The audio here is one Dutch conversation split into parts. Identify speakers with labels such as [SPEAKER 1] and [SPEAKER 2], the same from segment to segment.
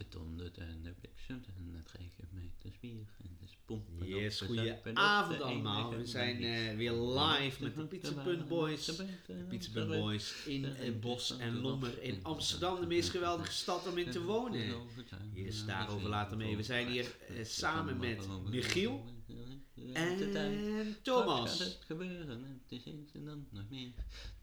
[SPEAKER 1] we de No Black Sun en het geven met de spier en de pomp.
[SPEAKER 2] Yes, goedenavond allemaal. We zijn eh, weer live met de Pizza Punt Boys. Pizza Punt Boys in eh, Bos en Lommer in Amsterdam. De meest geweldige stad om in te wonen. Yes, daarover later mee. We zijn hier eh, samen met Michiel en
[SPEAKER 1] Straks gaat
[SPEAKER 2] Thomas.
[SPEAKER 1] het gebeuren en het is eens en dan nog meer.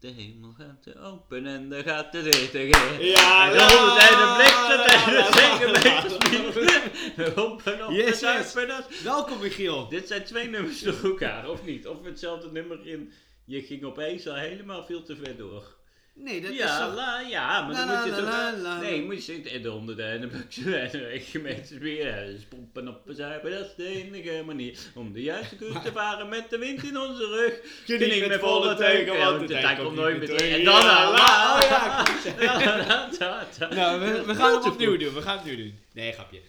[SPEAKER 1] De hemel gaat te open en daar gaat de deur te gaan.
[SPEAKER 2] Ja,
[SPEAKER 1] En dan moet hij nou, de blik
[SPEAKER 2] ja,
[SPEAKER 1] zetten en
[SPEAKER 2] ja,
[SPEAKER 1] zeker
[SPEAKER 2] ja, ja,
[SPEAKER 1] met de spier. Rompen op
[SPEAKER 2] Yes,
[SPEAKER 1] de
[SPEAKER 2] yes.
[SPEAKER 1] duipen.
[SPEAKER 2] Welkom Michiel.
[SPEAKER 1] Dit zijn twee nummers door elkaar, of niet? Of hetzelfde nummer in. Je ging opeens al helemaal veel te ver door.
[SPEAKER 2] Nee, dat is
[SPEAKER 1] ja,
[SPEAKER 2] toch...
[SPEAKER 1] la, ja, maar
[SPEAKER 2] La,
[SPEAKER 1] dan moet je
[SPEAKER 2] la,
[SPEAKER 1] toch...
[SPEAKER 2] la, la, la.
[SPEAKER 1] nee, moet je zitten in de honden en de buksen en de gemeentes weer. Ja, Dus pompen op en zuipen, dat is de enige manier om de juiste koers te varen met de wind in onze rug.
[SPEAKER 2] Geniet
[SPEAKER 1] Geniet
[SPEAKER 2] met volle teugen, want
[SPEAKER 1] de
[SPEAKER 2] de
[SPEAKER 1] tijd
[SPEAKER 2] tijd
[SPEAKER 1] komt
[SPEAKER 2] komt
[SPEAKER 1] nooit meer
[SPEAKER 2] niet
[SPEAKER 1] terug.
[SPEAKER 2] terug.
[SPEAKER 1] En dan
[SPEAKER 2] Ja,
[SPEAKER 1] la,
[SPEAKER 2] la.
[SPEAKER 1] la,
[SPEAKER 2] Oh ja,
[SPEAKER 1] la, la, la.
[SPEAKER 2] Nou, we, we gaan het
[SPEAKER 1] Grote
[SPEAKER 2] opnieuw doen. We gaan het nu doen. Nee, grapje.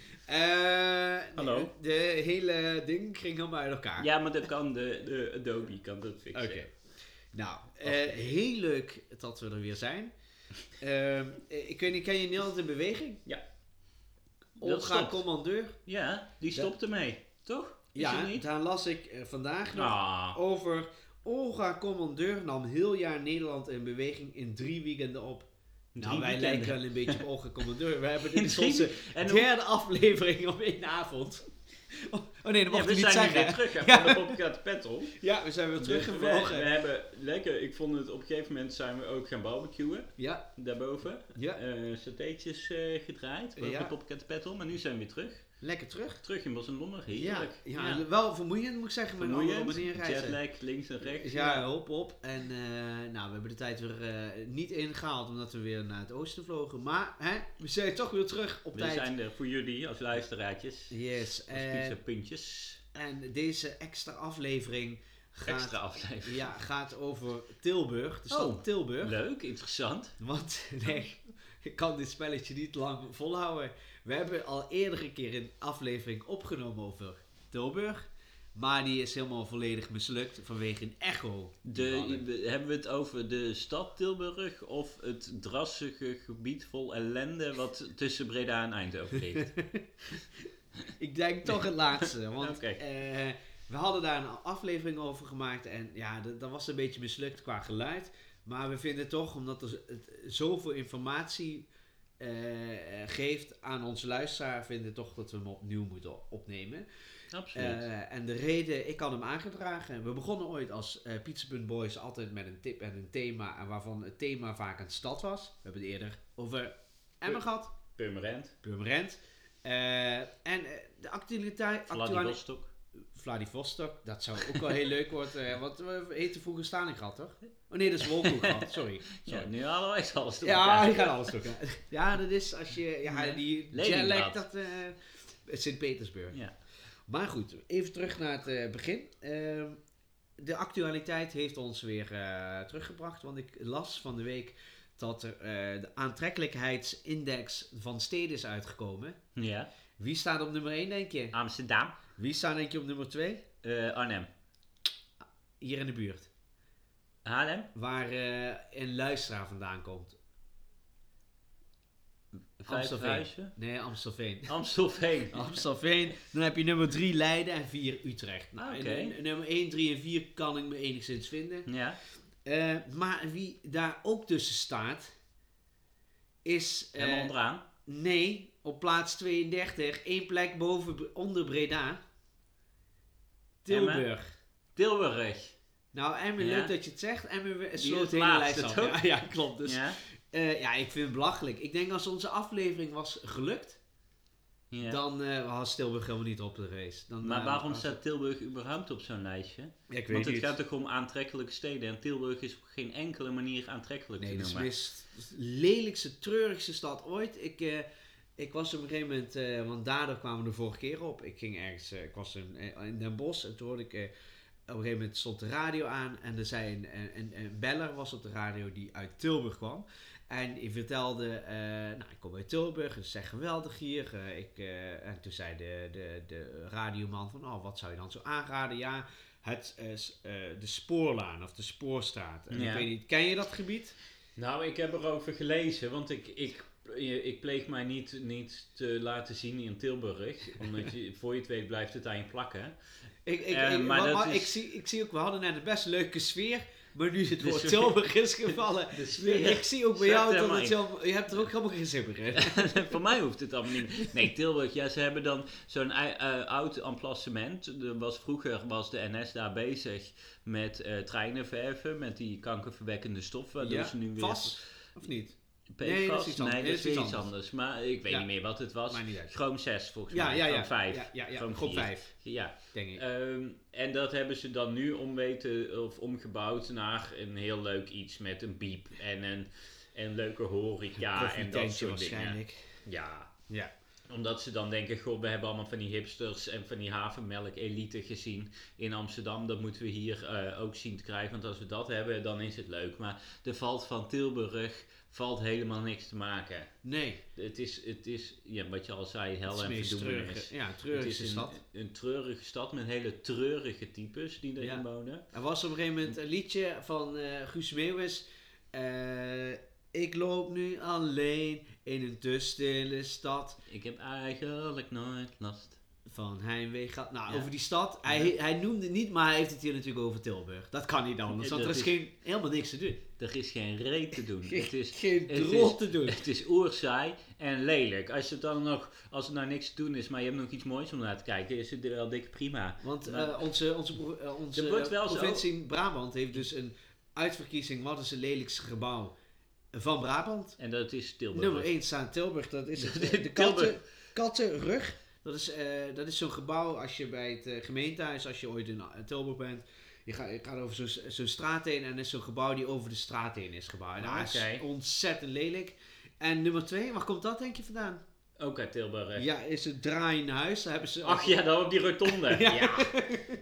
[SPEAKER 2] Eh,
[SPEAKER 1] Hallo.
[SPEAKER 2] De hele ding ging helemaal uit elkaar.
[SPEAKER 1] Ja, maar dat kan de, de Adobe, kan dat fixen.
[SPEAKER 2] Oké. Nou, eh, heel leuk dat we er weer zijn. Ehm, eh, ik weet niet, ken je Nederland in beweging?
[SPEAKER 1] Ja. Dat
[SPEAKER 2] Olga
[SPEAKER 1] stopt.
[SPEAKER 2] Commandeur.
[SPEAKER 1] Ja, die
[SPEAKER 2] Ja.
[SPEAKER 1] stopte mee, toch? Is
[SPEAKER 2] ja,
[SPEAKER 1] het niet?
[SPEAKER 2] daar las ik eh, vandaag nog
[SPEAKER 1] Ah.
[SPEAKER 2] over. Olga Commandeur nam heel jaar Nederland in beweging in drie weekenden op. nou, wij
[SPEAKER 1] weekenden.
[SPEAKER 2] lijken wel een beetje op Olga Commandeur. We hebben
[SPEAKER 1] In
[SPEAKER 2] dit is
[SPEAKER 1] drie-
[SPEAKER 2] onze
[SPEAKER 1] En hoe-
[SPEAKER 2] derde aflevering op één avond. Oh oh nee, dat
[SPEAKER 1] Ja,
[SPEAKER 2] mag
[SPEAKER 1] we
[SPEAKER 2] je niet
[SPEAKER 1] zijn
[SPEAKER 2] zeggen.
[SPEAKER 1] weer terug hè, van de podcast Petrol. Dus
[SPEAKER 2] Ja, we zijn weer
[SPEAKER 1] we, we
[SPEAKER 2] teruggevlogen.
[SPEAKER 1] hebben lekker, ik vond het op een gegeven moment zijn we ook gaan barbecuen
[SPEAKER 2] Ja,
[SPEAKER 1] daarboven.
[SPEAKER 2] ja,
[SPEAKER 1] Eh satéetjes eh, gedraaid, ook
[SPEAKER 2] Ja.
[SPEAKER 1] de podcast Petrol, maar nu zijn we weer terug.
[SPEAKER 2] lekker terug.
[SPEAKER 1] Terug in Bos en Lommer,
[SPEAKER 2] Ja,
[SPEAKER 1] heerlijk.
[SPEAKER 2] ja, wel vermoeiend moet ik zeggen, maar een andere
[SPEAKER 1] Vermoeiend,
[SPEAKER 2] manier reizen.
[SPEAKER 1] jetlag links en rechts.
[SPEAKER 2] Dus
[SPEAKER 1] Nou,
[SPEAKER 2] Ja, hop, hop. En eh, nou, we hebben de tijd weer eh, niet ingehaald omdat we weer naar het oosten vlogen. Maar hè, we zijn toch weer terug op
[SPEAKER 1] We
[SPEAKER 2] tijd.
[SPEAKER 1] zijn er voor jullie als luisteraartjes,
[SPEAKER 2] Yes,
[SPEAKER 1] als
[SPEAKER 2] eh,
[SPEAKER 1] pizza puntjes.
[SPEAKER 2] en deze extra aflevering gaat,
[SPEAKER 1] Extra aflevering.
[SPEAKER 2] Ja, gaat over Tilburg, de stad
[SPEAKER 1] Oh.
[SPEAKER 2] Tilburg.
[SPEAKER 1] Leuk, interessant.
[SPEAKER 2] Want nee, ik kan dit spelletje niet lang volhouden. We hebben al eerder een keer een aflevering opgenomen over Tilburg. Maar die is helemaal volledig mislukt vanwege een echo. die we
[SPEAKER 1] De,
[SPEAKER 2] hadden.
[SPEAKER 1] we- hebben we het over de stad Tilburg of het drassige gebied vol ellende wat tussen Breda en Eindhoven ligt?
[SPEAKER 2] Ik denk toch het laatste. Want
[SPEAKER 1] Oké.
[SPEAKER 2] eh, we hadden daar een aflevering over gemaakt. En ja, dat, dat was een beetje mislukt qua geluid. Maar we vinden toch, omdat er z- het zoveel informatie eh, eh, geeft aan onze luisteraar, vinden we toch dat we hem opnieuw moeten opnemen.
[SPEAKER 1] Absoluut.
[SPEAKER 2] Eh, en de reden, ik had hem aangedragen. We begonnen ooit als eh Pizza Punt Boys altijd met een tip en een thema. En waarvan het thema vaak een stad was. We hebben het eerder over Emmen gehad.
[SPEAKER 1] Purmerend,
[SPEAKER 2] Purmerend. Eh, en eh, de actualiteit... actuali-
[SPEAKER 1] Vladivostok.
[SPEAKER 2] Vladivostok. Dat zou ook wel heel leuk worden. eh, want we heten vroeger Stalingrad, toch? Oh nee, dat is Wolgograd. Sorry.
[SPEAKER 1] Ja,
[SPEAKER 2] Sorry.
[SPEAKER 1] nu halen we echt alles door
[SPEAKER 2] Ja,
[SPEAKER 1] elkaar.
[SPEAKER 2] je gaat alles doen. Ja, dat is als je... Ja,
[SPEAKER 1] Ja.
[SPEAKER 2] die
[SPEAKER 1] Leningrad.
[SPEAKER 2] jetlag, dat... eh, Sint-Petersburg.
[SPEAKER 1] Ja.
[SPEAKER 2] Maar goed, even terug naar het eh, begin. Ehm, de actualiteit heeft ons weer eh, teruggebracht. Want ik las van de week dat er eh, de aantrekkelijkheidsindex van steden is uitgekomen.
[SPEAKER 1] Ja.
[SPEAKER 2] Wie staat op nummer 1, denk je?
[SPEAKER 1] Amsterdam,
[SPEAKER 2] Wie staat denk je op nummer 2?
[SPEAKER 1] eh, Arnhem,
[SPEAKER 2] Hier in de buurt.
[SPEAKER 1] Haarlem,
[SPEAKER 2] Waar eh, een luisteraar vandaan komt.
[SPEAKER 1] Vijfhuizen,
[SPEAKER 2] Nee, Amstelveen.
[SPEAKER 1] Amstelveen.
[SPEAKER 2] Amstelveen. Dan heb je nummer 3 Leiden en 4 Utrecht. Nou,
[SPEAKER 1] Oké.
[SPEAKER 2] en- en nummer 1, 3 en 4 kan ik me enigszins vinden.
[SPEAKER 1] Ja,
[SPEAKER 2] Eh, maar wie daar ook tussen staat, is... eh,
[SPEAKER 1] helemaal onderaan.
[SPEAKER 2] nee, op plaats 32, één plek boven, onder Breda. Tilburg.
[SPEAKER 1] Tilburg.
[SPEAKER 2] Nou, Emmen,
[SPEAKER 1] Ja.
[SPEAKER 2] leuk dat je het zegt. Emmen we-
[SPEAKER 1] is
[SPEAKER 2] sloot de hele
[SPEAKER 1] laatste,
[SPEAKER 2] lijst af.
[SPEAKER 1] toch?
[SPEAKER 2] Ja, ja, klopt. Dus, ja.
[SPEAKER 1] Ja.
[SPEAKER 2] ja, ik vind het belachelijk. Ik denk als onze aflevering was gelukt,
[SPEAKER 1] ja.
[SPEAKER 2] dan eh was Tilburg helemaal niet op de race. Dan,
[SPEAKER 1] maar
[SPEAKER 2] eh,
[SPEAKER 1] waarom
[SPEAKER 2] was-
[SPEAKER 1] staat Tilburg überhaupt op zo'n lijstje?
[SPEAKER 2] Ja, ik weet
[SPEAKER 1] Want het
[SPEAKER 2] niet.
[SPEAKER 1] gaat toch om aantrekkelijke steden en Tilburg is op geen enkele manier aantrekkelijk
[SPEAKER 2] Nee,
[SPEAKER 1] te
[SPEAKER 2] dat dus is
[SPEAKER 1] noemen.
[SPEAKER 2] mis- lelijkste, treurigste stad ooit. Ik, eh, ik was op een gegeven moment, eh, want daardoor kwamen we de vorige keer op. Ik ging ergens, eh, ik was in, eh, in Den Bosch en toen hoorde ik, eh, op een gegeven moment stond de radio aan en er zei een, een, een, een beller was op de radio die uit Tilburg kwam. En die vertelde, eh, nou ik kom uit Tilburg, het is echt geweldig hier. Eh, ik, eh, en toen zei de, de, de radioman van, oh wat zou je dan zo aanraden? Ja, het, eh, s- eh, de spoorlaan of de spoorstraat. En
[SPEAKER 1] Ja.
[SPEAKER 2] ik weet niet, ken je dat gebied?
[SPEAKER 1] Nou, ik heb erover gelezen, want ik, ik je- ik pleeg mij niet, niet te laten zien in Tilburg. Omdat je, voor je het weet blijft het aan je plakken.
[SPEAKER 2] Ik, ik,
[SPEAKER 1] Eh,
[SPEAKER 2] ik-
[SPEAKER 1] maar
[SPEAKER 2] maar
[SPEAKER 1] dat
[SPEAKER 2] maar
[SPEAKER 1] is-
[SPEAKER 2] ik, zie, ik zie ook, we hadden net een best leuke sfeer. Maar nu het
[SPEAKER 1] De
[SPEAKER 2] woord
[SPEAKER 1] sfeer-
[SPEAKER 2] Tilburg is gevallen.
[SPEAKER 1] de sfeer
[SPEAKER 2] ik zie ook bij
[SPEAKER 1] zakt
[SPEAKER 2] jou dat
[SPEAKER 1] helemaal in.
[SPEAKER 2] het Tilburg... Je hebt er ook helemaal geen zipper in.
[SPEAKER 1] voor mij hoeft het allemaal niet. Nee, Tilburg, ja, ze hebben dan zo'n ei- eh, oud emplacement. Er was, vroeger was de NS daar bezig met eh, treinen verven. Met die kankerverwekkende stof. Waardoor
[SPEAKER 2] Ja,
[SPEAKER 1] ze nu weer...
[SPEAKER 2] vast? Of niet?
[SPEAKER 1] PFAS?
[SPEAKER 2] Nee, dat is iets anders.
[SPEAKER 1] Nee, dat is weer iets anders. Maar ik weet
[SPEAKER 2] Ja.
[SPEAKER 1] niet meer wat het was.
[SPEAKER 2] Maar niet uit.
[SPEAKER 1] Chroom 6 volgens
[SPEAKER 2] Ja,
[SPEAKER 1] mij.
[SPEAKER 2] ja, ja.
[SPEAKER 1] Chroom 5.
[SPEAKER 2] Ja, ja, ja.
[SPEAKER 1] Chroom
[SPEAKER 2] Groep
[SPEAKER 1] 4.
[SPEAKER 2] 5,
[SPEAKER 1] Ja.
[SPEAKER 2] denk ik.
[SPEAKER 1] Ehm, en dat hebben ze dan nu omweten of omgebouwd naar een heel leuk iets met een biep en een, en leuke horeca ah, en dat
[SPEAKER 2] Koffietentje
[SPEAKER 1] soort dingen.
[SPEAKER 2] waarschijnlijk.
[SPEAKER 1] Ja,
[SPEAKER 2] Ja.
[SPEAKER 1] omdat ze dan denken, goh, we hebben allemaal van die hipsters en van die havenmelk elite gezien in Amsterdam. Dat moeten we hier eh, ook zien te krijgen, want als we dat hebben, dan is het leuk. Maar er valt van Tilburg valt helemaal niks te maken.
[SPEAKER 2] Nee,
[SPEAKER 1] Het is, het is ja, wat je al zei,
[SPEAKER 2] het
[SPEAKER 1] hel
[SPEAKER 2] is
[SPEAKER 1] en
[SPEAKER 2] meest
[SPEAKER 1] verdoemenis.
[SPEAKER 2] treurige, ja,
[SPEAKER 1] Het
[SPEAKER 2] treurige
[SPEAKER 1] is een,
[SPEAKER 2] stad.
[SPEAKER 1] een treurige stad met hele treurige types die erin
[SPEAKER 2] Ja.
[SPEAKER 1] wonen.
[SPEAKER 2] Er was op een gegeven moment een liedje van eh, Guus Meeuwis. Eh, ik loop nu alleen in een te stille stad.
[SPEAKER 1] Ik heb eigenlijk nooit last.
[SPEAKER 2] Van Heimwee gaat... Nou,
[SPEAKER 1] Ja.
[SPEAKER 2] over die stad. Hij, hij noemde het niet, maar hij heeft het hier natuurlijk over Tilburg. Dat kan niet
[SPEAKER 1] Nee,
[SPEAKER 2] anders, want er
[SPEAKER 1] dat
[SPEAKER 2] is
[SPEAKER 1] is-
[SPEAKER 2] geen, helemaal niks te doen.
[SPEAKER 1] Er is geen reet te doen. het is,
[SPEAKER 2] geen
[SPEAKER 1] het
[SPEAKER 2] drol
[SPEAKER 1] is-
[SPEAKER 2] te doen.
[SPEAKER 1] het is oerzaai en lelijk. Als het dan nog, als er nou niks te doen is, maar je hebt nog iets moois om naar te kijken, is het wel dikke prima.
[SPEAKER 2] Want
[SPEAKER 1] Maar-
[SPEAKER 2] eh, onze, onze, pro- eh, onze
[SPEAKER 1] Er wordt
[SPEAKER 2] eh,
[SPEAKER 1] wel zo-
[SPEAKER 2] provincie Brabant heeft dus een uitverkiezing. Wat is het lelijkste gebouw van Brabant?
[SPEAKER 1] En dat is Tilburg.
[SPEAKER 2] Nummer 1 staat Tilburg, dat is het. eh,
[SPEAKER 1] Tilburg.
[SPEAKER 2] De katten, kattenrug. Dat is, eh, dat is zo'n gebouw als je bij het eh, gemeentehuis, als je ooit in eh, Tilburg bent. Je, ga- je gaat over zo'n zo'n straat heen en er is zo'n gebouw die over de straat heen is gebouwd. En dat is
[SPEAKER 1] Oké.
[SPEAKER 2] ontzettend lelijk. En nummer 2, waar komt dat denk je vandaan?
[SPEAKER 1] Ook uit Tilburg.
[SPEAKER 2] Ja, is het draaiende huis. Daar hebben ze
[SPEAKER 1] Ach ja, dan op die rotonde.
[SPEAKER 2] Ja.
[SPEAKER 1] ja.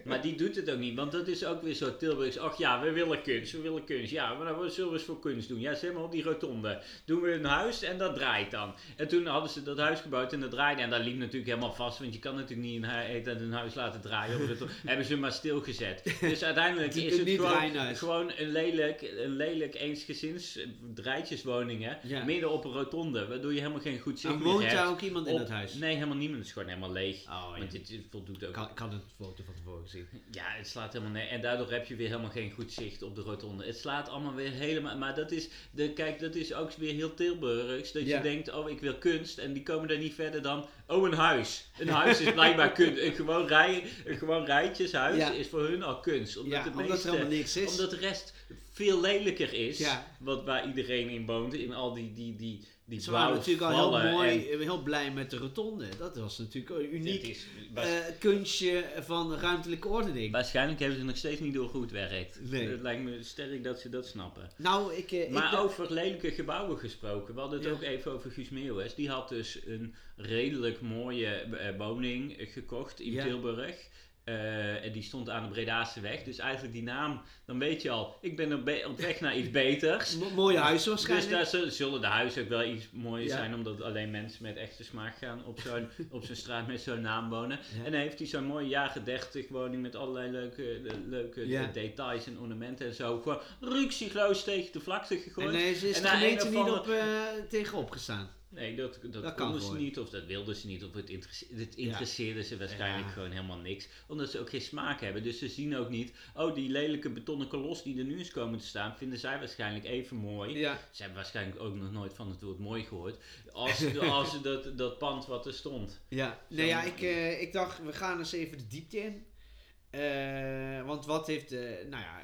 [SPEAKER 1] Maar die doet het ook niet, want dat is ook weer zo Tilburgs. Ach ja, we willen kunst, we willen kunst. Ja, maar dan wat zullen we eens voor kunst doen? Ja, zeg maar op die rotonde. Doen we een huis en dat draait dan. En toen hadden ze dat huis gebouwd en dat draaide. En dat liep natuurlijk helemaal vast, want je kan natuurlijk niet een, hu- eh, dat een huis laten draaien. Op de rotonde. Hebben ze maar stilgezet. Dus uiteindelijk
[SPEAKER 2] Die
[SPEAKER 1] is
[SPEAKER 2] doen
[SPEAKER 1] het
[SPEAKER 2] niet
[SPEAKER 1] gewoon,
[SPEAKER 2] draaien huis.
[SPEAKER 1] gewoon een lelijk, een lelijk eensgezins eh, rijtjeswoningen.
[SPEAKER 2] Ja.
[SPEAKER 1] Midden op een rotonde, waardoor je helemaal geen goed zicht
[SPEAKER 2] En
[SPEAKER 1] meer
[SPEAKER 2] woont
[SPEAKER 1] hebt.
[SPEAKER 2] daar ook iemand in
[SPEAKER 1] Op-
[SPEAKER 2] het huis?
[SPEAKER 1] Nee, helemaal niemand. Het is gewoon helemaal leeg.
[SPEAKER 2] Oh, ja.
[SPEAKER 1] Want dit dit voldoet
[SPEAKER 2] Ik
[SPEAKER 1] ook.
[SPEAKER 2] had, ik had het foto van tevoren gezien.
[SPEAKER 1] Ja, het slaat helemaal neer. En daardoor heb je weer helemaal geen goed zicht op de rotonde. Het slaat allemaal weer helemaal. Maar dat is, de, kijk, dat is ook weer heel Tilburgs. Dat
[SPEAKER 2] Ja.
[SPEAKER 1] je denkt, oh, ik wil kunst. En die komen daar niet verder dan, oh, een huis. Een huis is blijkbaar kunst. Een gewoon, rij, een gewoon rijtjeshuis
[SPEAKER 2] Ja.
[SPEAKER 1] is voor hun al kunst. Omdat,
[SPEAKER 2] ja,
[SPEAKER 1] het
[SPEAKER 2] omdat
[SPEAKER 1] meeste,
[SPEAKER 2] er helemaal niks is.
[SPEAKER 1] omdat de rest veel lelijker is.
[SPEAKER 2] Ja.
[SPEAKER 1] Wat waar iedereen in woont. In al die, die, die, die
[SPEAKER 2] Ze waren
[SPEAKER 1] blauwe
[SPEAKER 2] natuurlijk al heel
[SPEAKER 1] vallen
[SPEAKER 2] mooi, heel blij met de rotonde. Dat was natuurlijk
[SPEAKER 1] en-
[SPEAKER 2] uniek.
[SPEAKER 1] Het is- was-
[SPEAKER 2] eh, kunstje van ruimtelijke ordening.
[SPEAKER 1] Waarschijnlijk hebben ze nog steeds niet door hoe het werkt.
[SPEAKER 2] Nee.
[SPEAKER 1] Het lijkt me sterk dat ze dat snappen.
[SPEAKER 2] nou, ik, eh, ik
[SPEAKER 1] Maar
[SPEAKER 2] dacht-
[SPEAKER 1] over lelijke gebouwen gesproken. We hadden het
[SPEAKER 2] Ja.
[SPEAKER 1] ook even over Guus Meeuwis. Die had dus een redelijk mooie eh, woning eh, gekocht in
[SPEAKER 2] Ja.
[SPEAKER 1] Tilburg. Eh, en die stond aan de Bredaanse weg. Dus eigenlijk die naam, dan weet je al, ik ben op, be- op weg naar iets beters.
[SPEAKER 2] mo- mooie huis
[SPEAKER 1] Dus
[SPEAKER 2] waarschijnlijk.
[SPEAKER 1] daar zul- zullen de huizen ook wel iets mooier
[SPEAKER 2] Ja.
[SPEAKER 1] zijn, omdat alleen mensen met echte smaak gaan op zo'n op zo'n straat met zo'n naam wonen.
[SPEAKER 2] Ja.
[SPEAKER 1] En dan heeft hij zo'n mooie jaren 30 woning met allerlei leuke, eh, leuke
[SPEAKER 2] Ja.
[SPEAKER 1] details en ornamenten en zo. Gewoon ruksigloos tegen de vlakte gegooid.
[SPEAKER 2] en daar is, is
[SPEAKER 1] en
[SPEAKER 2] de
[SPEAKER 1] na een
[SPEAKER 2] gemeente
[SPEAKER 1] of
[SPEAKER 2] niet
[SPEAKER 1] andere-
[SPEAKER 2] op, eh, tegenop gestaan.
[SPEAKER 1] Nee, dat, dat,
[SPEAKER 2] Dat kan
[SPEAKER 1] konden ze
[SPEAKER 2] gewoon.
[SPEAKER 1] niet of dat wilden ze niet of het, interesse- het interesseerde ze waarschijnlijk
[SPEAKER 2] Ja.
[SPEAKER 1] gewoon helemaal niks. Omdat ze ook geen smaak hebben. Dus ze zien ook niet, oh die lelijke betonnen kolos die er nu is komen te staan, vinden zij waarschijnlijk even mooi.
[SPEAKER 2] Ja.
[SPEAKER 1] Ze hebben waarschijnlijk ook nog nooit van het woord mooi gehoord. Als, als dat, dat pand wat er stond.
[SPEAKER 2] Ja.
[SPEAKER 1] Zo.
[SPEAKER 2] Nee, ja, ik, eh, ik dacht, we gaan eens even de diepte in. Eh, want wat heeft, eh, nou ja,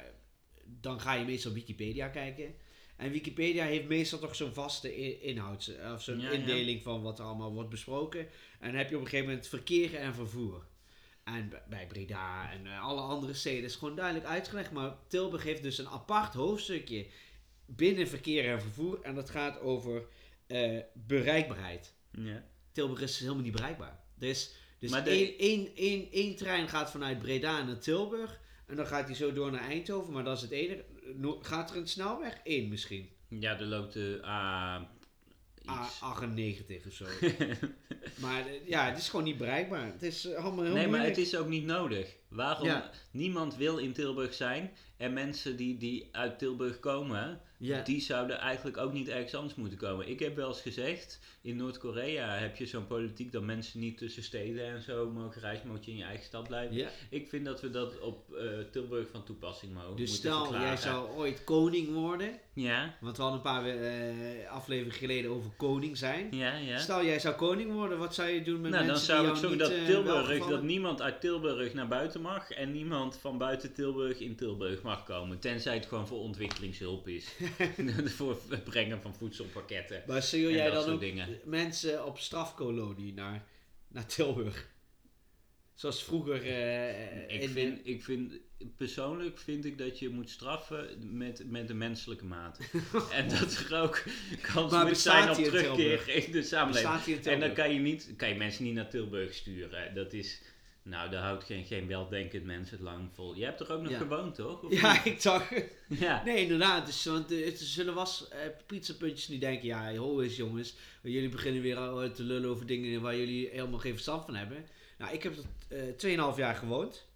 [SPEAKER 2] dan ga je meestal Wikipedia kijken. En Wikipedia heeft meestal toch zo'n vaste i- inhoud, eh, of zo'n
[SPEAKER 1] Ja, ja.
[SPEAKER 2] indeling van wat er allemaal wordt besproken. En dan heb je op een gegeven moment verkeer en vervoer. En b- bij Breda en eh, alle andere steden is gewoon duidelijk uitgelegd. Maar Tilburg heeft dus een apart hoofdstukje binnen verkeer en vervoer. En dat gaat over eh, bereikbaarheid.
[SPEAKER 1] Ja.
[SPEAKER 2] Tilburg is helemaal niet bereikbaar. Er is, dus
[SPEAKER 1] Maar de-
[SPEAKER 2] één, één, één, één trein gaat vanuit Breda naar Tilburg. En dan gaat hij zo door naar Eindhoven. Maar dat is het enige. No- Gaat er een snelweg? Eén misschien.
[SPEAKER 1] ja, er loopt de A...
[SPEAKER 2] Ah,
[SPEAKER 1] iets.
[SPEAKER 2] A98 of zo. maar eh, ja, het is gewoon niet bereikbaar. Het is eh, allemaal heel
[SPEAKER 1] nee, maar
[SPEAKER 2] moeilijk.
[SPEAKER 1] het is ook niet nodig. Waarom
[SPEAKER 2] Ja.
[SPEAKER 1] niemand wil in Tilburg zijn en mensen die, die uit Tilburg komen,
[SPEAKER 2] Ja.
[SPEAKER 1] die zouden eigenlijk ook niet ergens anders moeten komen. Ik heb wel eens gezegd, in Noord-Korea heb je zo'n politiek dat mensen niet tussen steden en zo mogen reizen, moet je in je eigen stad blijven.
[SPEAKER 2] ja.
[SPEAKER 1] Ik vind dat we dat op eh, Tilburg van toepassing mogen
[SPEAKER 2] Dus
[SPEAKER 1] moeten
[SPEAKER 2] stel,
[SPEAKER 1] verklaren.
[SPEAKER 2] jij zou ooit koning worden.
[SPEAKER 1] Ja,
[SPEAKER 2] Want we hadden een paar eh, afleveringen geleden over koning zijn.
[SPEAKER 1] ja, ja.
[SPEAKER 2] Stel, jij zou koning worden. Wat zou je doen met
[SPEAKER 1] nou, dan
[SPEAKER 2] mensen
[SPEAKER 1] zou
[SPEAKER 2] die
[SPEAKER 1] ik
[SPEAKER 2] jou
[SPEAKER 1] zorgen
[SPEAKER 2] niet,
[SPEAKER 1] dat
[SPEAKER 2] eh,
[SPEAKER 1] Tilburg,
[SPEAKER 2] welgevallen-
[SPEAKER 1] dat niemand uit Tilburg naar buiten mag en niemand van buiten Tilburg in Tilburg mag komen. Tenzij het gewoon voor ontwikkelingshulp is. voor het brengen van voedselpakketten.
[SPEAKER 2] Maar stuur
[SPEAKER 1] en
[SPEAKER 2] jij
[SPEAKER 1] dat
[SPEAKER 2] dan
[SPEAKER 1] soort
[SPEAKER 2] ook
[SPEAKER 1] dingen.
[SPEAKER 2] mensen op strafkolonie naar, naar Tilburg? Zoals vroeger eh,
[SPEAKER 1] Ik
[SPEAKER 2] in-
[SPEAKER 1] vind, ik vind, persoonlijk vind ik dat je moet straffen met, met de menselijke maat. en dat er ook kans
[SPEAKER 2] Maar
[SPEAKER 1] moet zijn op
[SPEAKER 2] bestaat die in
[SPEAKER 1] terugkeer in de samenleving.
[SPEAKER 2] bestaat hier in
[SPEAKER 1] En
[SPEAKER 2] Tilburg.
[SPEAKER 1] dan kan je, niet, kan je mensen niet naar Tilburg sturen. Dat is, nou, daar houdt geen, geen weldenkend mens het lang vol. Je hebt er ook nog
[SPEAKER 2] Ja.
[SPEAKER 1] gewoond, toch? Of
[SPEAKER 2] Ja, ik dacht.
[SPEAKER 1] niet? ja.
[SPEAKER 2] Nee, inderdaad. Dus, want eh, ze zullen was eh pizzapuntjes niet denken. Ja, ho eens jongens. Jullie beginnen weer al, eh, te lullen over dingen waar jullie helemaal geen verstand van hebben. Nou, ik heb er eh 2,5 jaar gewoond.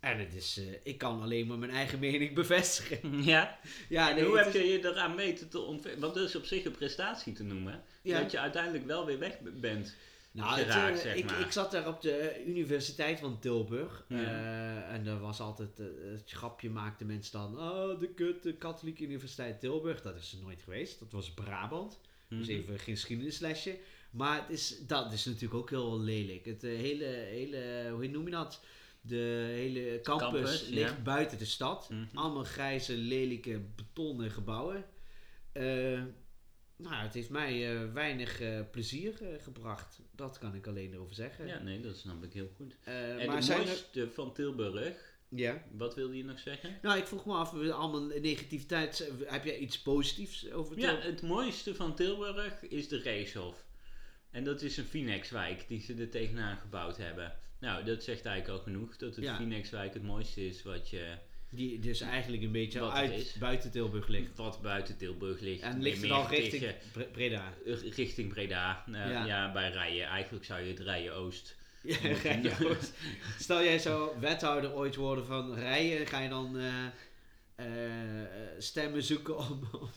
[SPEAKER 2] En het is, eh, ik kan alleen maar mijn eigen mening bevestigen.
[SPEAKER 1] Ja,
[SPEAKER 2] Ja,
[SPEAKER 1] en hoe
[SPEAKER 2] het
[SPEAKER 1] heb
[SPEAKER 2] is-
[SPEAKER 1] je je eraan weten te ontwikkelen? Want dat is op zich een prestatie te noemen. hè?
[SPEAKER 2] Ja.
[SPEAKER 1] Dat je uiteindelijk wel weer weg b- bent.
[SPEAKER 2] Nou, het, eh,
[SPEAKER 1] geraakt, zeg
[SPEAKER 2] ik,
[SPEAKER 1] maar.
[SPEAKER 2] ik zat daar op de Universiteit van Tilburg.
[SPEAKER 1] Ja.
[SPEAKER 2] eh, en er was altijd eh, het grapje maakten mensen dan. Oh, de kut, de Katholieke Universiteit Tilburg. Dat is er nooit geweest. Dat was Brabant. Dus
[SPEAKER 1] Mhm.
[SPEAKER 2] even geen geschiedenislesje. Maar het is, dat is natuurlijk ook heel lelijk. Het eh, hele, hele, hoe noem je dat? De hele campus,
[SPEAKER 1] Campus, ja.
[SPEAKER 2] ligt buiten de stad.
[SPEAKER 1] Mhm.
[SPEAKER 2] Allemaal grijze, lelijke, betonnen gebouwen. Eh, nou, het heeft mij eh, weinig eh, plezier eh, gebracht. Dat kan ik alleen erover zeggen.
[SPEAKER 1] Ja, nee, dat snap ik heel goed.
[SPEAKER 2] Eh,
[SPEAKER 1] en
[SPEAKER 2] maar
[SPEAKER 1] de
[SPEAKER 2] zijn er...
[SPEAKER 1] mooiste van Tilburg,
[SPEAKER 2] Ja.
[SPEAKER 1] wat wilde je nog zeggen?
[SPEAKER 2] Nou, ik vroeg me af, we- allemaal negativiteit. eh, Heb jij iets positiefs over het
[SPEAKER 1] Ja, het mooiste van Tilburg is de Reeshof. En dat is een Phoenixwijk die ze er tegenaan gebouwd hebben. Nou, dat zegt eigenlijk al genoeg dat het
[SPEAKER 2] Ja.
[SPEAKER 1] Phoenixwijk het mooiste is wat, je,
[SPEAKER 2] Die dus eigenlijk een beetje
[SPEAKER 1] Wat er
[SPEAKER 2] uit
[SPEAKER 1] is.
[SPEAKER 2] buiten Tilburg ligt.
[SPEAKER 1] wat buiten Tilburg ligt.
[SPEAKER 2] En ligt het
[SPEAKER 1] meer
[SPEAKER 2] al richting
[SPEAKER 1] tegen-
[SPEAKER 2] Bre- Breda?
[SPEAKER 1] eh, richting Breda. Eh,
[SPEAKER 2] Ja.
[SPEAKER 1] ja. bij Rijen. Eigenlijk zou je het Rijen Oost
[SPEAKER 2] Ja,
[SPEAKER 1] moeten
[SPEAKER 2] Rijen
[SPEAKER 1] noemen.
[SPEAKER 2] Oost. Stel jij zou wethouder ooit worden van Rijen, ga je dan eh, eh, eh, stemmen zoeken om, om,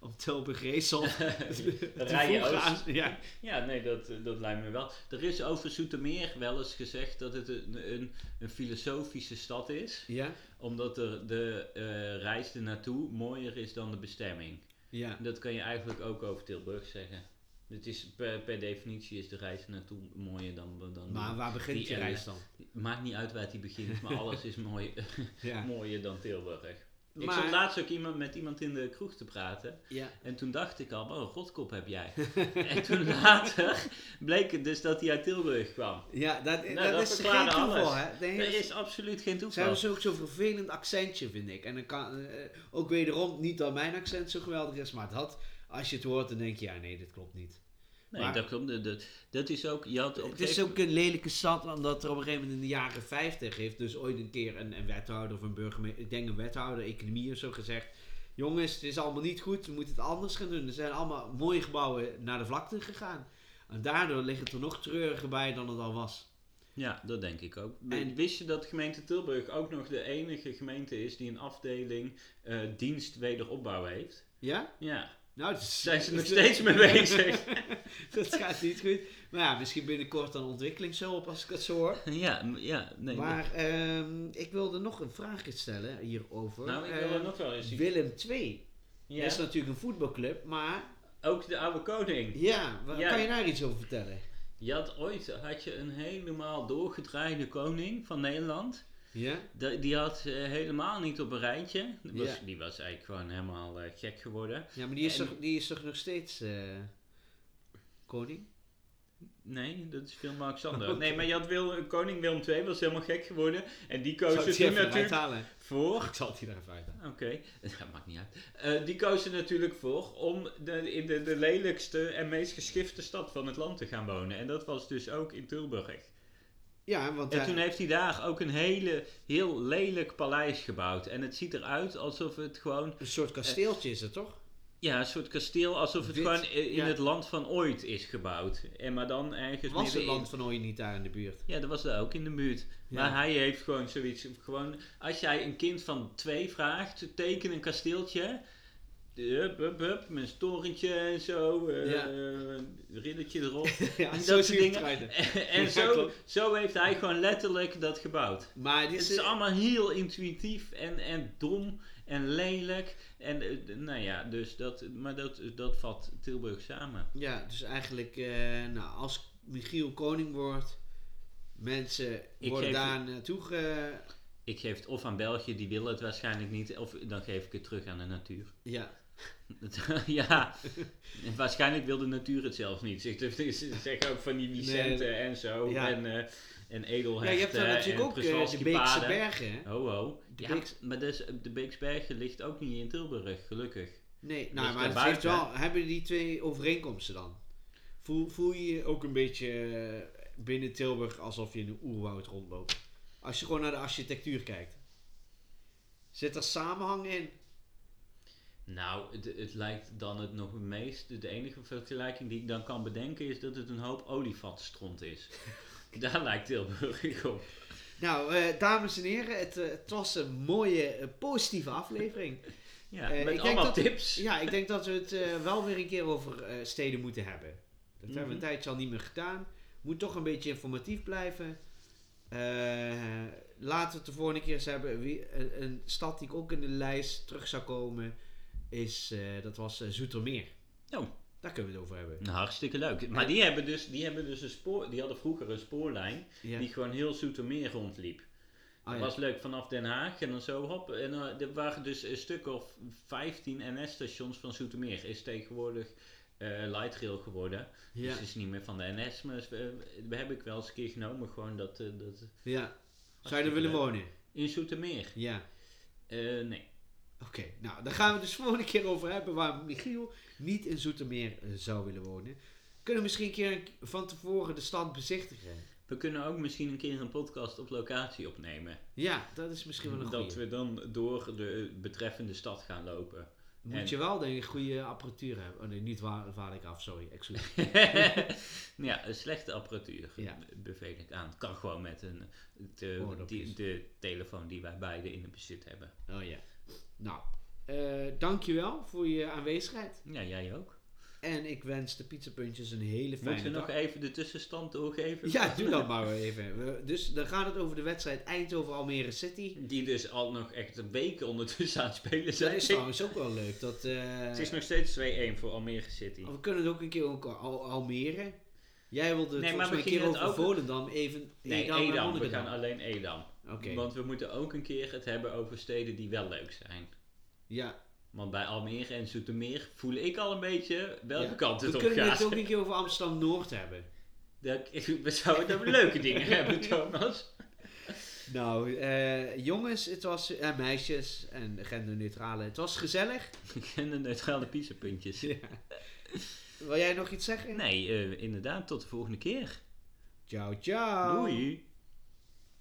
[SPEAKER 2] om Tilburg Reesel te
[SPEAKER 1] eh, Rijen
[SPEAKER 2] voegen
[SPEAKER 1] Oost.
[SPEAKER 2] aan- Ja.
[SPEAKER 1] Ja, nee, dat, eh, dat lijkt me wel. Er is over Zoetermeer wel eens gezegd dat het een, een, een filosofische stad is.
[SPEAKER 2] ja,
[SPEAKER 1] Omdat er de eh, reis ernaartoe mooier is dan de bestemming.
[SPEAKER 2] ja,
[SPEAKER 1] Dat kan je eigenlijk ook over Tilburg zeggen. Het is per, per definitie is de reis ernaartoe mooier dan... dan
[SPEAKER 2] maar waar begint
[SPEAKER 1] Mm. Die eh,
[SPEAKER 2] je
[SPEAKER 1] en-
[SPEAKER 2] reis dan?
[SPEAKER 1] Maakt niet uit waar die begint, maar alles is mooi,
[SPEAKER 2] Ja.
[SPEAKER 1] mooier dan Tilburg. Ik zat
[SPEAKER 2] Maar,
[SPEAKER 1] laatst ook iemand, met iemand in de kroeg te praten.
[SPEAKER 2] ja,
[SPEAKER 1] En toen dacht ik al, wat een rotkop heb jij. en toen later bleek het dus dat hij uit Tilburg kwam.
[SPEAKER 2] ja dat, dat,
[SPEAKER 1] Nou, dat
[SPEAKER 2] is geen
[SPEAKER 1] verklaarde
[SPEAKER 2] toeval,
[SPEAKER 1] alles.
[SPEAKER 2] hè? Nee,
[SPEAKER 1] Dat
[SPEAKER 2] dat-
[SPEAKER 1] is absoluut geen
[SPEAKER 2] Ze hebben
[SPEAKER 1] toeval.
[SPEAKER 2] dus ook zo'n vervelend accentje, vind ik. En dan kan, eh, eh, ook wederom, niet dat mijn accent zo geweldig is, maar het had, als je het hoort, dan denk je, ja, nee, dit klopt niet.
[SPEAKER 1] Nee,
[SPEAKER 2] Maar-
[SPEAKER 1] dat klopt. Dat, dat, dat is ook, je had op
[SPEAKER 2] Het is ook een lelijke stad, omdat er op een gegeven moment in de jaren 50 heeft dus ooit een keer een, een wethouder of een burgemeester, ik denk een wethouder, economie of zo gezegd, jongens, het is allemaal niet goed, we moeten het anders gaan doen. Er zijn allemaal mooie gebouwen naar de vlakte gegaan. En daardoor ligt het er nog treuriger bij dan het al was.
[SPEAKER 1] Ja, dat denk ik ook.
[SPEAKER 2] En-
[SPEAKER 1] En wist je dat gemeente Tilburg ook nog de enige gemeente is die een afdeling eh, dienst wederopbouw heeft?
[SPEAKER 2] Ja?
[SPEAKER 1] Ja,
[SPEAKER 2] Nou, het is-
[SPEAKER 1] zijn ze nog steeds mee bezig.
[SPEAKER 2] dat gaat niet goed. Maar ja, misschien binnenkort dan ontwikkelingshulp als ik dat zo hoor.
[SPEAKER 1] ja, m- ja, nee.
[SPEAKER 2] maar ehm, ik wilde nog een vraagje stellen hierover.
[SPEAKER 1] nou, ik wil er
[SPEAKER 2] Ehm,
[SPEAKER 1] nog wel eens.
[SPEAKER 2] Willem II.
[SPEAKER 1] Ja,
[SPEAKER 2] Dat is natuurlijk een voetbalclub, maar
[SPEAKER 1] Ook de oude koning.
[SPEAKER 2] ja, wa-
[SPEAKER 1] Ja.
[SPEAKER 2] kan je daar iets over vertellen?
[SPEAKER 1] Je had ooit had je een helemaal doorgedraaide koning van Nederland.
[SPEAKER 2] Ja?
[SPEAKER 1] Da- die had eh, helemaal niet op een rijtje. Dat was,
[SPEAKER 2] Ja.
[SPEAKER 1] Die was eigenlijk gewoon helemaal eh, gek geworden.
[SPEAKER 2] Ja, maar die is,
[SPEAKER 1] En-
[SPEAKER 2] toch, die is toch nog steeds eh, koning?
[SPEAKER 1] Nee, dat is veel Alexander.
[SPEAKER 2] Oké.
[SPEAKER 1] Nee, maar je had Wil, koning Willem II was helemaal gek geworden. En die koos
[SPEAKER 2] Zou ik
[SPEAKER 1] er
[SPEAKER 2] die
[SPEAKER 1] toen
[SPEAKER 2] even
[SPEAKER 1] natuurlijk
[SPEAKER 2] uithalen?
[SPEAKER 1] voor.
[SPEAKER 2] Ik zal die daar even uithalen.
[SPEAKER 1] Oké, dat maakt niet uit. Eh, die koos er natuurlijk voor om de, in de, de lelijkste en meest geschifte stad van het land te gaan wonen. En dat was dus ook in Tilburg.
[SPEAKER 2] Ja, want eh,
[SPEAKER 1] En
[SPEAKER 2] daar-
[SPEAKER 1] toen heeft hij daar ook een hele, heel lelijk paleis gebouwd. En het ziet eruit alsof het gewoon...
[SPEAKER 2] een soort kasteeltje is het toch?
[SPEAKER 1] Ja, een soort kasteel alsof het
[SPEAKER 2] Wit,
[SPEAKER 1] gewoon i- in
[SPEAKER 2] ja.
[SPEAKER 1] het land van ooit is gebouwd. En maar dan ergens
[SPEAKER 2] Was het
[SPEAKER 1] middenin.
[SPEAKER 2] land van ooit niet daar in de buurt?
[SPEAKER 1] Ja, dat was daar ook in de buurt.
[SPEAKER 2] Ja.
[SPEAKER 1] Maar hij heeft gewoon zoiets. Gewoon, als jij een kind van twee vraagt, teken een kasteeltje. Hup, hup, hup, met een torentje en zo. eh,
[SPEAKER 2] Ja.
[SPEAKER 1] een riddertje erop.
[SPEAKER 2] ja,
[SPEAKER 1] En
[SPEAKER 2] zo
[SPEAKER 1] dat
[SPEAKER 2] zie
[SPEAKER 1] soort
[SPEAKER 2] je het eruit.
[SPEAKER 1] en
[SPEAKER 2] Ja,
[SPEAKER 1] zo,
[SPEAKER 2] klopt.
[SPEAKER 1] zo heeft hij gewoon letterlijk dat gebouwd.
[SPEAKER 2] Maar dit
[SPEAKER 1] Het
[SPEAKER 2] is,
[SPEAKER 1] is allemaal heel intuïtief en, en dom en lelijk. En eh, d- nou ja, dus dat, maar dat, dat vat Tilburg samen.
[SPEAKER 2] Ja, dus eigenlijk, eh, nou, als Michiel koning wordt, mensen
[SPEAKER 1] Ik
[SPEAKER 2] worden
[SPEAKER 1] geef-
[SPEAKER 2] daar naartoe ge...
[SPEAKER 1] Ik geef het of aan België, die willen het waarschijnlijk niet. Of dan geef ik het terug aan de natuur.
[SPEAKER 2] Ja,
[SPEAKER 1] Dat- ja, en waarschijnlijk wil de natuur het zelf niet. Ze ze- ze zeggen ook van die Vicente en zo.
[SPEAKER 2] Ja.
[SPEAKER 1] En, eh en
[SPEAKER 2] ja je
[SPEAKER 1] edelhechten
[SPEAKER 2] hebt daar natuurlijk
[SPEAKER 1] en
[SPEAKER 2] ook eh, de
[SPEAKER 1] Przewalski
[SPEAKER 2] Beekse
[SPEAKER 1] paden.
[SPEAKER 2] Bergen, hè?
[SPEAKER 1] Ho, ho.
[SPEAKER 2] De
[SPEAKER 1] ja,
[SPEAKER 2] Beeks-
[SPEAKER 1] maar dus, de Beeksbergen ligt ook niet in Tilburg, gelukkig.
[SPEAKER 2] Nee, nou,
[SPEAKER 1] Dus
[SPEAKER 2] maar het heeft
[SPEAKER 1] daarbuiten.
[SPEAKER 2] wel, hebben die twee overeenkomsten dan? Voel, voel je je ook een beetje eh, binnen Tilburg alsof je in een oerwoud rondloopt? Als je gewoon naar de architectuur kijkt. Zit er samenhang in?
[SPEAKER 1] Nou, het, het lijkt dan het nog het meest. De enige vergelijking die ik dan kan bedenken is dat het een hoop olifantstront is. Daar lijkt Tilburg op.
[SPEAKER 2] Nou, eh, dames en heren, het, eh, het was een mooie, eh, positieve aflevering.
[SPEAKER 1] Ja,
[SPEAKER 2] Eh, ik
[SPEAKER 1] met
[SPEAKER 2] denk
[SPEAKER 1] allemaal
[SPEAKER 2] dat-
[SPEAKER 1] tips.
[SPEAKER 2] Ja, ik denk dat we het eh, wel weer een keer over eh, steden moeten hebben. Dat hebben we
[SPEAKER 1] Mhm.
[SPEAKER 2] een tijdje al niet meer gedaan. Moet toch een beetje informatief blijven. Eh, laten we het de volgende keer eens hebben. Wie, een, een stad die ik ook in de lijst terug zou komen, is, eh, dat was eh, Zoetermeer.
[SPEAKER 1] Oh.
[SPEAKER 2] Daar kunnen we het over hebben.
[SPEAKER 1] Nou, hartstikke leuk.
[SPEAKER 2] Eh,
[SPEAKER 1] Maar die hebben dus, die hebben dus een spoor, die hadden vroeger een spoorlijn
[SPEAKER 2] Ja.
[SPEAKER 1] die gewoon heel Zoetermeer rondliep.
[SPEAKER 2] Ah,
[SPEAKER 1] dat
[SPEAKER 2] ja.
[SPEAKER 1] was leuk vanaf Den Haag en dan zo hop. En eh, er waren dus een stuk of 15 NS-stations van Zoetermeer. Is tegenwoordig eh light rail geworden. Dus
[SPEAKER 2] Ja.
[SPEAKER 1] het is niet meer van de NS, maar we, we heb ik wel eens een keer genomen gewoon dat, eh, dat
[SPEAKER 2] ja. Zou je er willen
[SPEAKER 1] leuk.
[SPEAKER 2] wonen?
[SPEAKER 1] in Zoetermeer.
[SPEAKER 2] Ja.
[SPEAKER 1] Eh nee.
[SPEAKER 2] Oké, nou, daar gaan we het dus volgende keer over hebben waar Michiel niet in Zoetermeer eh, zou willen wonen. Kunnen we misschien een keer van tevoren de stad bezichtigen?
[SPEAKER 1] We kunnen ook misschien een keer een podcast op locatie opnemen.
[SPEAKER 2] Ja, dat is misschien wel een
[SPEAKER 1] Dat
[SPEAKER 2] goede.
[SPEAKER 1] we dan door de betreffende stad gaan lopen. en-
[SPEAKER 2] Moet je wel denk ik goede apparatuur hebben. Oh nee, niet waar, waar ik af, sorry. Excuus.
[SPEAKER 1] ja, een slechte apparatuur
[SPEAKER 2] Ja.
[SPEAKER 1] be- beveel ik aan. kan gewoon met een, de,
[SPEAKER 2] Oordopjes.
[SPEAKER 1] die- de telefoon die wij beide in het bezit hebben.
[SPEAKER 2] Oh ja. Nou, eh dankjewel voor je aanwezigheid.
[SPEAKER 1] Ja, jij ook.
[SPEAKER 2] En ik wens de pizzapuntjes een hele fijne
[SPEAKER 1] Moeten we nog
[SPEAKER 2] dag.
[SPEAKER 1] even de tussenstand doorgeven?
[SPEAKER 2] Ja, doe dat maar even. We- Dus dan gaat het over de wedstrijd Eindhoven-Almere City.
[SPEAKER 1] Die dus al nog echt weken ondertussen aan het spelen
[SPEAKER 2] Dat
[SPEAKER 1] zijn.
[SPEAKER 2] is trouwens ook wel leuk. Dat, eh,
[SPEAKER 1] Het is nog steeds 2-1 voor Almere City.
[SPEAKER 2] we kunnen het ook een keer over Al- Almere. Jij wilde het
[SPEAKER 1] Nee, maar
[SPEAKER 2] volgens mij
[SPEAKER 1] we
[SPEAKER 2] een keer
[SPEAKER 1] gingen het
[SPEAKER 2] over
[SPEAKER 1] ook-
[SPEAKER 2] Volendam. Even
[SPEAKER 1] Nee,
[SPEAKER 2] Edam en
[SPEAKER 1] Edam. We
[SPEAKER 2] Monnikendam.
[SPEAKER 1] gaan alleen Edam.
[SPEAKER 2] Oké,
[SPEAKER 1] Want we moeten ook een keer het hebben over steden die wel leuk zijn.
[SPEAKER 2] ja.
[SPEAKER 1] Want bij Almere en Zoetermeer voel ik al een beetje welke
[SPEAKER 2] Ja,
[SPEAKER 1] kant het
[SPEAKER 2] We
[SPEAKER 1] op
[SPEAKER 2] kunnen
[SPEAKER 1] gaat.
[SPEAKER 2] het ook een keer over Amsterdam-Noord hebben.
[SPEAKER 1] Dat, we zouden het over leuke dingen hebben, Thomas.
[SPEAKER 2] Nou, eh, jongens, het was, en meisjes en genderneutrale, het was gezellig.
[SPEAKER 1] En de neutrale pizzapuntjes.
[SPEAKER 2] Wil jij nog iets zeggen?
[SPEAKER 1] Nee, eh, inderdaad, tot de volgende keer.
[SPEAKER 2] Ciao, ciao.
[SPEAKER 1] Doei.